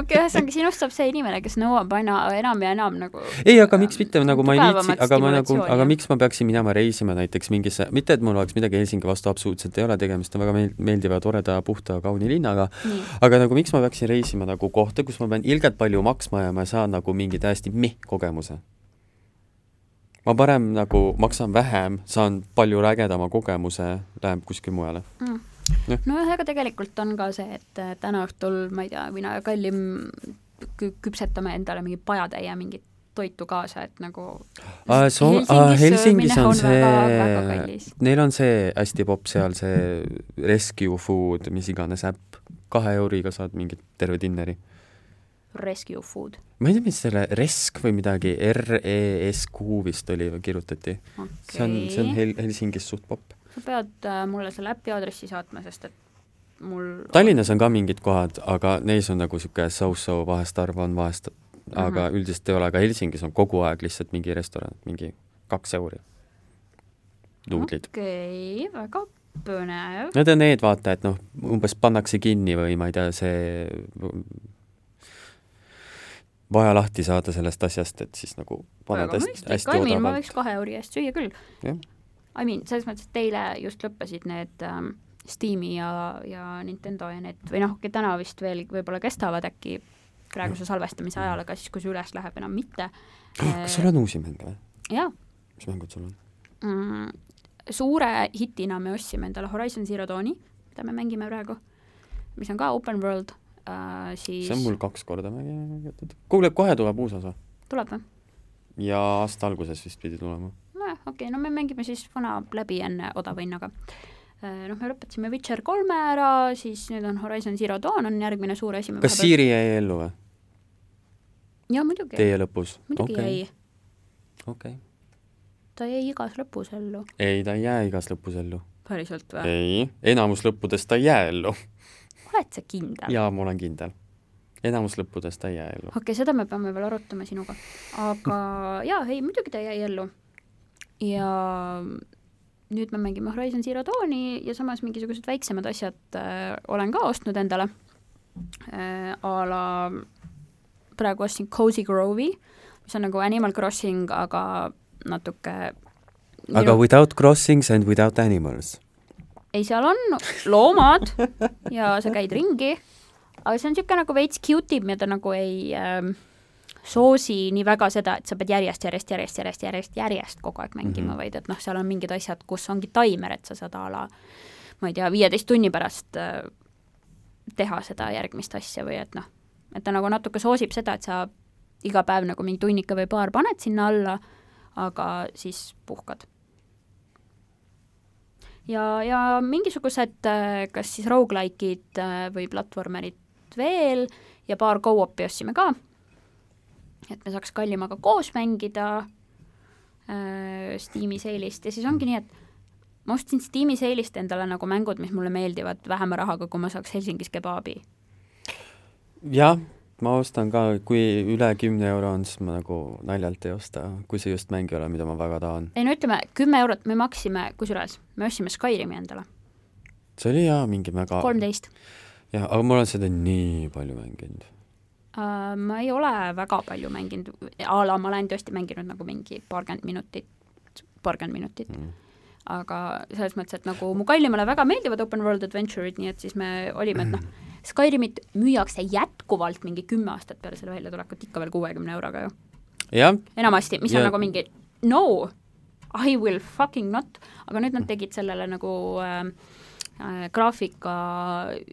Speaker 2: okei , ühesõnaga sinust saab see inimene , kes nõuab aina enam ja enam nagu
Speaker 3: ei , aga miks mitte , nagu ma ei viitsi ,
Speaker 2: Tugevamat
Speaker 3: aga ma nagu ,
Speaker 2: stimulatsiooni.
Speaker 3: aga miks ma peaksin minema reisima näiteks mingisse , mitte et mul oleks midagi Helsingi vastu absoluutselt ei ole , tegemist on väga meil- meeldiva , toreda , puhta , kauni linnaga ,
Speaker 2: nii ,
Speaker 3: aga nagu miks ma peaksin reisima nagu kohta , kus ma pean ilgelt palju maksma ja ma saan nagu mingi täiesti meh kogemuse ? ma parem nagu maksan vähem , saan palju ägedama kogemuse , lähen kuskile mujale .
Speaker 2: nojah , aga tegelikult on ka see , et äh, täna õhtul , ma ei tea , mina ja kallim kü- küpsetame endale mingi pajatäie mingit toitu kaasa , et nagu
Speaker 3: Aa,
Speaker 2: sest
Speaker 3: Soome , Helsingis
Speaker 2: söömine
Speaker 3: on see
Speaker 2: väga, väga kallis .,
Speaker 3: neil on see hästi popp seal , see Rescue Food , mis iganes äpp , kahe euriga saad mingit terve dinneri .
Speaker 2: Rescue food ,
Speaker 3: ma ei tea , mis selle Resk või midagi , R-E-S-Q vist oli , kirjutati . see on , see on
Speaker 2: okei .
Speaker 3: Hel- , Helsingis suht popp .
Speaker 2: sa pead äh, mulle selle äpi aadressi saatma , sest et mul
Speaker 3: Tallinnas on ka mingid kohad , aga neis on nagu niisugune so-so , vahest arv on vahest , aga
Speaker 2: Mhm.
Speaker 3: üldiselt ei ole , aga Helsingis on kogu aeg lihtsalt mingi restoran , mingi kaks euri . nuudlid .
Speaker 2: okei okay, , väga põnev .
Speaker 3: Need on need , vaata , et noh , umbes pannakse kinni või ma ei tea , see vaja lahti saada sellest asjast , et siis nagu paned
Speaker 2: väga
Speaker 3: hästi,
Speaker 2: mõistlik ,
Speaker 3: hästi
Speaker 2: I mean , ma
Speaker 3: odavalt
Speaker 2: võiks . kahe euri eest süüa küll .
Speaker 3: Jah.
Speaker 2: I mean , selles mõttes , et teile just lõppesid need ähm, Steam'i ja , ja Nintendo ja need või noh , okei , täna vist veel võib-olla kestavad äkki praeguse salvestamise ajal , aga siis , kui see üles läheb , enam mitte . Äh.
Speaker 3: Ah, kas sul on uusi mänge või ?
Speaker 2: jaa
Speaker 3: mis mängud sul on ?
Speaker 2: mm, , suure hitina me ostsime endale Horizon Zero Dawni , mida me mängime praegu , mis on ka open world äh, , siis
Speaker 3: see on mul kaks korda mängitud . kuule , kohe tuleb uus osa
Speaker 2: tuleb või ?
Speaker 3: ja aasta alguses vist pidi tulema .
Speaker 2: nojah , okei okay, , no me mängime siis vana läbi enne odava hinnaga . noh , me lõpetasime Witcher kolme ära , siis nüüd on Horizon Zero Dawn on järgmine suur asi .
Speaker 3: kas ? Siiri jäi ellu või ?
Speaker 2: jaa , muidugi ,
Speaker 3: Teie lõpus ?
Speaker 2: muidugi okay. jäi ,
Speaker 3: okei .
Speaker 2: ta jäi igas lõpus ellu .
Speaker 3: ei , ta ei jää igas lõpus ellu .
Speaker 2: päriselt või ?
Speaker 3: ei , enamus lõppudest ta ei jää ellu .
Speaker 2: oled sa kindel ?
Speaker 3: jaa , ma olen kindel . enamus lõppudest ei jää ellu .
Speaker 2: okei okay, , seda me peame veel arutama sinuga , aga jaa , ei muidugi ta jäi ellu . ja nüüd me mängime Horizon Zero Dawni ja samas mingisugused väiksemad asjad äh, olen ka ostnud endale äh, . a la praegu ostsin Cozy Grove'i , mis on nagu Animal Crossing , aga natuke
Speaker 3: aga without crossings and without animals .
Speaker 2: ei , seal on loomad ja sa käid ringi , aga see on niisugune nagu veits cute ib ja ta nagu ei ähm, soosi nii väga seda , et sa pead järjest , järjest , järjest , järjest , järjest , järjest kogu aeg mängima mm ,
Speaker 3: Mhm.
Speaker 2: -hmm. vaid et noh , seal on mingid asjad , kus ongi taimer , et sa saad a la ma ei tea , viieteist tunni pärast äh, teha seda järgmist asja või et noh , et ta nagu natuke soosib seda , et sa iga päev nagu mingi tunnike või paar paned sinna alla , aga siis puhkad . ja , ja mingisugused äh, kas siis rogu-like'id äh, või platvormerid veel ja paar go-op'i ostsime ka , et me saaks kallimaga koos mängida äh, Steam'i seilist ja siis ongi nii , et ma ostsin Steam'i seilist endale nagu mängud , mis mulle meeldivad vähema rahaga , kui ma saaks Helsingis kebaabi .
Speaker 3: jah , ma ostan ka , kui üle kümne euro on , siis ma nagu naljalt ei osta , kui see just mäng ei ole , mida ma väga tahan .
Speaker 2: ei no ütleme , kümme eurot me maksime , kusjuures me ostsime Skyrimi endale ,
Speaker 3: see oli jaa , mingi väga
Speaker 2: kolmteist .
Speaker 3: jah , aga ma olen seda nii palju mänginud .
Speaker 2: Äh, Ma ei ole väga palju mänginud , a la ma olen tõesti mänginud nagu mingi paarkümmend minutit , paarkümmend minutit ,
Speaker 3: Mm.
Speaker 2: aga selles mõttes , et nagu mu kallimale väga meeldivad open world adventure'id , nii et siis me olime , et noh , Skyrimit müüakse jätkuvalt mingi kümme aastat peale selle väljatulekut ikka veel kuuekümne euroga ju ,
Speaker 3: jah ,
Speaker 2: enamasti , mis ja.
Speaker 3: Ja-
Speaker 2: on nagu mingi no , I will fucking not , aga nüüd nad tegid sellele nagu äh, äh, graafika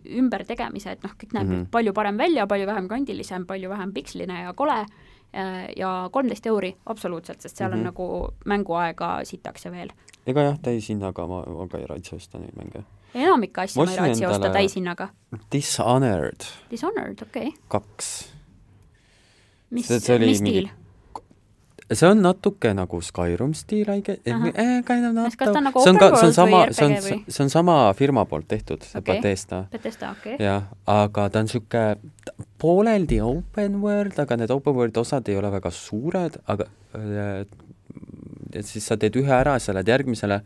Speaker 2: ümbertegemise , et noh , kõik näeb mm
Speaker 3: Mhm.
Speaker 2: -hmm. palju parem välja , palju vähem kandilisem , palju vähem piksline ja kole äh, ja kolmteist euri absoluutselt , sest seal mm
Speaker 3: Mhm.
Speaker 2: -hmm. on nagu mänguaega sitaks ja veel .
Speaker 3: ega jah , täishinnaga ma aga ei raatsi osta neid mänge .
Speaker 2: enamik asju
Speaker 3: Ma
Speaker 2: ma ei
Speaker 3: ostsin
Speaker 2: raatsi osta
Speaker 3: endale-
Speaker 2: täishinnaga .
Speaker 3: Dishonored
Speaker 2: Dishonored , okei okay. .
Speaker 3: kaks .
Speaker 2: mis ,
Speaker 3: See- see oli
Speaker 2: mis
Speaker 3: mingi-
Speaker 2: stiil ?
Speaker 3: see on natuke nagu Skyrim stiil , I guess
Speaker 2: Ahah. ,
Speaker 3: kind of not
Speaker 2: Kas- kas ta on nagu
Speaker 3: see on
Speaker 2: open
Speaker 3: ka , see on
Speaker 2: world
Speaker 3: sama
Speaker 2: või ,
Speaker 3: see on
Speaker 2: RPG , või?
Speaker 3: see on sama firma poolt tehtud , see
Speaker 2: Okei.
Speaker 3: okay. Bethesda .
Speaker 2: Bethesda , okei okay. .
Speaker 3: jah , aga ta on niisugune pooleldi open world , aga need open world osad ei ole väga suured , aga äh, et siis sa teed ühe ära , sa lähed järgmisele ,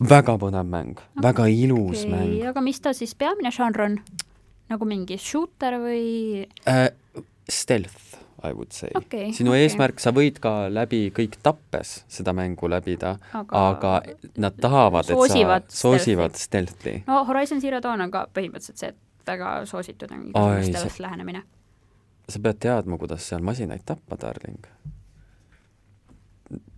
Speaker 3: väga põnev mäng okay. , väga ilus okay. mäng
Speaker 2: okei , aga mis ta siis peamine žanr on ? nagu mingi shooter või ?
Speaker 3: äh, . Stealth , I would say
Speaker 2: Okei,
Speaker 3: sinu
Speaker 2: okei.
Speaker 3: eesmärk , sa võid ka läbi kõik tappes seda mängu läbida , aga
Speaker 2: Aga-
Speaker 3: nad tahavad , et sa
Speaker 2: Soosivad
Speaker 3: soosivad stealth'i .
Speaker 2: no Horizon Zero Dawn on ka põhimõtteliselt see , et väga soositud on
Speaker 3: Ai,
Speaker 2: igasugune
Speaker 3: see-
Speaker 2: stealth lähenemine .
Speaker 3: sa pead teadma , kuidas seal masinaid tappa , darling .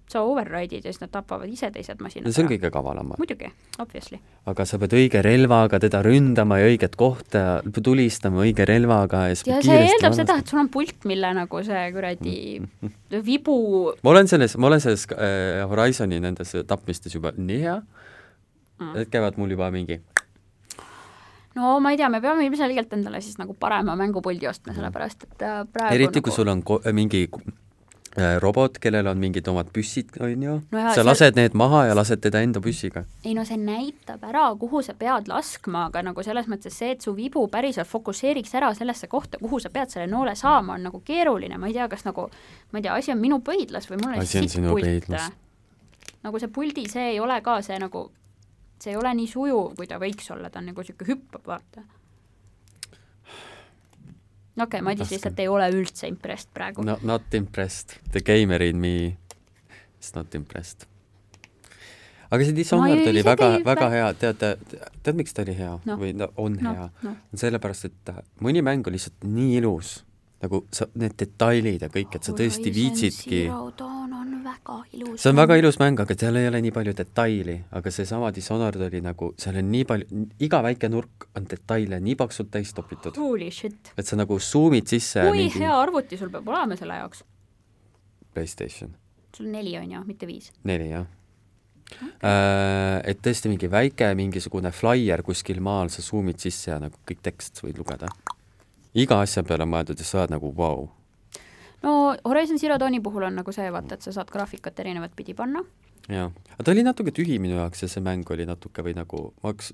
Speaker 2: sa override'id ja siis nad tapavad ise teised masinad
Speaker 3: no see on . kõige kavalam
Speaker 2: muidugi , obviously .
Speaker 3: aga sa pead õige relvaga teda ründama ja õiget kohta tulistama õige relvaga ja siis
Speaker 2: ja see eeldab seda , et sul on pult , mille nagu see kuradi vibu
Speaker 3: ma olen selles , ma olen selles äh, Horizoni nendes tapmistes juba nii hea ,
Speaker 2: mm.
Speaker 3: need käivad mul juba mingi
Speaker 2: no ma ei tea , me peame ilmselgelt endale siis nagu parema mängupuldi ostma , sellepärast et äh, praegu
Speaker 3: eriti , kui
Speaker 2: nagu...
Speaker 3: sul on ko- mingi äh, robot , kellel on mingid omad püssid , on ju
Speaker 2: No
Speaker 3: no ,
Speaker 2: jaa,
Speaker 3: sa
Speaker 2: seal-
Speaker 3: lased need maha ja lased teda enda püssiga .
Speaker 2: ei no see näitab ära , kuhu sa pead laskma , aga nagu selles mõttes see , et su vibu päriselt fokusseeriks ära sellesse kohta , kuhu sa pead selle noole saama , on nagu keeruline , ma ei tea , kas nagu ma ei tea , asi on minu pöidlas või mul on
Speaker 3: Asi on
Speaker 2: sitt
Speaker 3: sinu
Speaker 2: pult
Speaker 3: pöidlas. .
Speaker 2: nagu see puldi , see ei ole ka see nagu , see ei ole nii sujuv , kui ta võiks olla , ta on nagu niisugune hüppab , vaata . no okei okay, , Madis
Speaker 3: Raske.
Speaker 2: lihtsalt ei ole üldse impressed praegu
Speaker 3: No, not impressed , the gamer in me is not impressed . aga see
Speaker 2: Ma
Speaker 3: Dishonored
Speaker 2: ju
Speaker 3: oli
Speaker 2: ise
Speaker 3: väga
Speaker 2: ei- ,
Speaker 3: väga hea , tead , tead , miks ta oli hea
Speaker 2: Noh.
Speaker 3: no. või no, on no.
Speaker 2: noh
Speaker 3: hea ?,
Speaker 2: noh ,
Speaker 3: sellepärast , et mõni mäng on lihtsalt nii ilus , nagu sa , need detailid ja kõik , et sa tõesti viitsidki .
Speaker 2: Zero Dawn on väga ilus .
Speaker 3: see on väga ilus mäng , aga seal ei ole nii palju detaili , aga seesama Dishonored oli nagu , seal on nii palju , iga väike nurk on detaile nii paksult täis topitud ,
Speaker 2: Holy shit .
Speaker 3: et sa nagu suumid sisse
Speaker 2: kui mingi...
Speaker 3: mingi
Speaker 2: hea arvuti sul peab olema selle jaoks ?
Speaker 3: Playstation
Speaker 2: sul on neli , on ju , mitte viis .
Speaker 3: neli , jah . Et tõesti mingi väike mingisugune flaier kuskil maal , sa suumid sisse ja nagu kõik tekst võid lugeda . iga asja peale on mõeldud ja sa oled nagu vau wow. .
Speaker 2: no Horizon Zero Dawni puhul on nagu see , vaata , et sa saad graafikat erinevat pidi panna .
Speaker 3: jah , aga ta oli natuke tühi minu jaoks ja see mäng oli natuke või nagu , ma oleks ,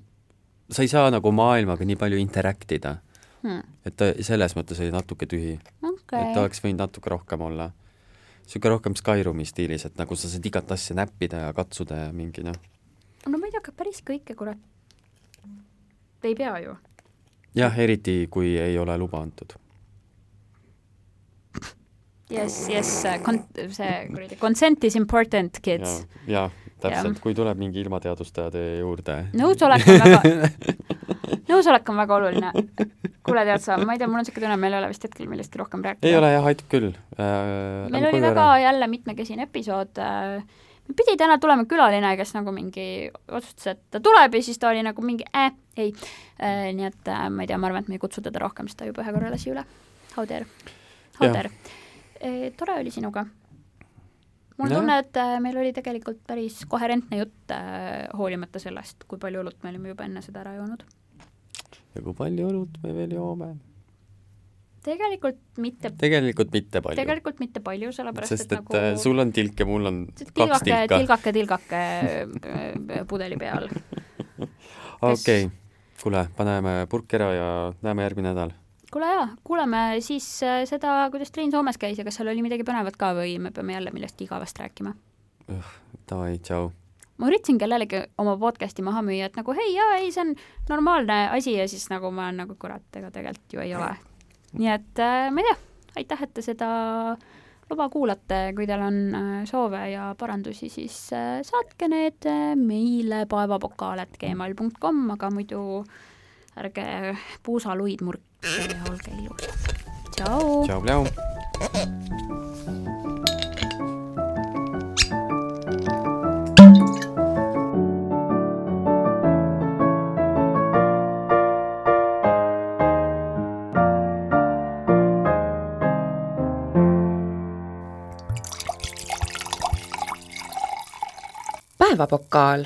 Speaker 3: sa ei saa nagu maailmaga nii palju interact ida . et ta selles mõttes oli natuke tühi
Speaker 2: Hmm,
Speaker 3: okay. , et ta
Speaker 2: okei ,
Speaker 3: oleks võinud natuke rohkem olla niisugune rohkem Skyrimi stiilis , et nagu sa saad igat asja näppida ja katsuda ja mingi noh ,
Speaker 2: no ma ei tea , aga päris kõike kurat ei pea ju .
Speaker 3: jah , eriti kui ei ole luba antud .
Speaker 2: Yes , yes , kon- , see kuradi consent is important , kids .
Speaker 3: jah , täpselt , kui tuleb mingi ilmateadustaja teie juurde ,
Speaker 2: nõusolek on väga , nõusolek on väga oluline . kuule , tead sa , ma ei tea , mul on niisugune tunne , meil ei ole vist hetkel millestki rohkem rääkida .
Speaker 3: ei ole jah , aitab küll äh, .
Speaker 2: meil oli väga jälle mitmekesine episood äh, , pidi täna tulema külaline , kes nagu mingi otsustas , et ta tuleb ja siis ta oli nagu mingi äh, ei äh, . nii et äh, ma ei tea , ma arvan , et me ei kutsu teda rohkem , sest ta juba ühe korra lasi üle . How dare , how
Speaker 3: Jah.
Speaker 2: dare . tore oli sinuga . mul
Speaker 3: Nojah.
Speaker 2: tunne , et äh, meil oli tegelikult päris koherentne jutt äh, , hoolimata sellest , kui palju õlut me olime juba enne seda ära joonud .
Speaker 3: ja kui palju õlut me veel joome ?
Speaker 2: tegelikult mitte ,
Speaker 3: tegelikult mitte palju ,
Speaker 2: tegelikult mitte palju , sellepärast
Speaker 3: sest et, et nagu... sul on tilk ja mul on kaks
Speaker 2: tilgake ,
Speaker 3: tilka .
Speaker 2: tilgake , tilgake äh, pudeli peal .
Speaker 3: okei , kuule , paneme purk ära ja näeme järgmine nädal .
Speaker 2: kuule jaa , kuulame siis äh, seda , kuidas trenn Soomes käis ja kas seal oli midagi põnevat ka või me peame jälle millestki igavast rääkima ?
Speaker 3: Davai , tšau .
Speaker 2: ma üritasin kellelegi oma podcast'i maha müüa , et nagu hei jaa , ei see on normaalne asi ja siis nagu ma olen nagu kurat , ega tegelikult ju ei ole . nii et äh, ma ei tea , aitäh , et te seda luba kuulate , kui teil on äh, soove ja parandusi , siis äh, saatke need äh, meile paevapokaal.gmail.com , aga muidu ärge puusaluid murkige ja olge ilusad . tšau .
Speaker 3: tšau-pljau .
Speaker 1: päevapokaal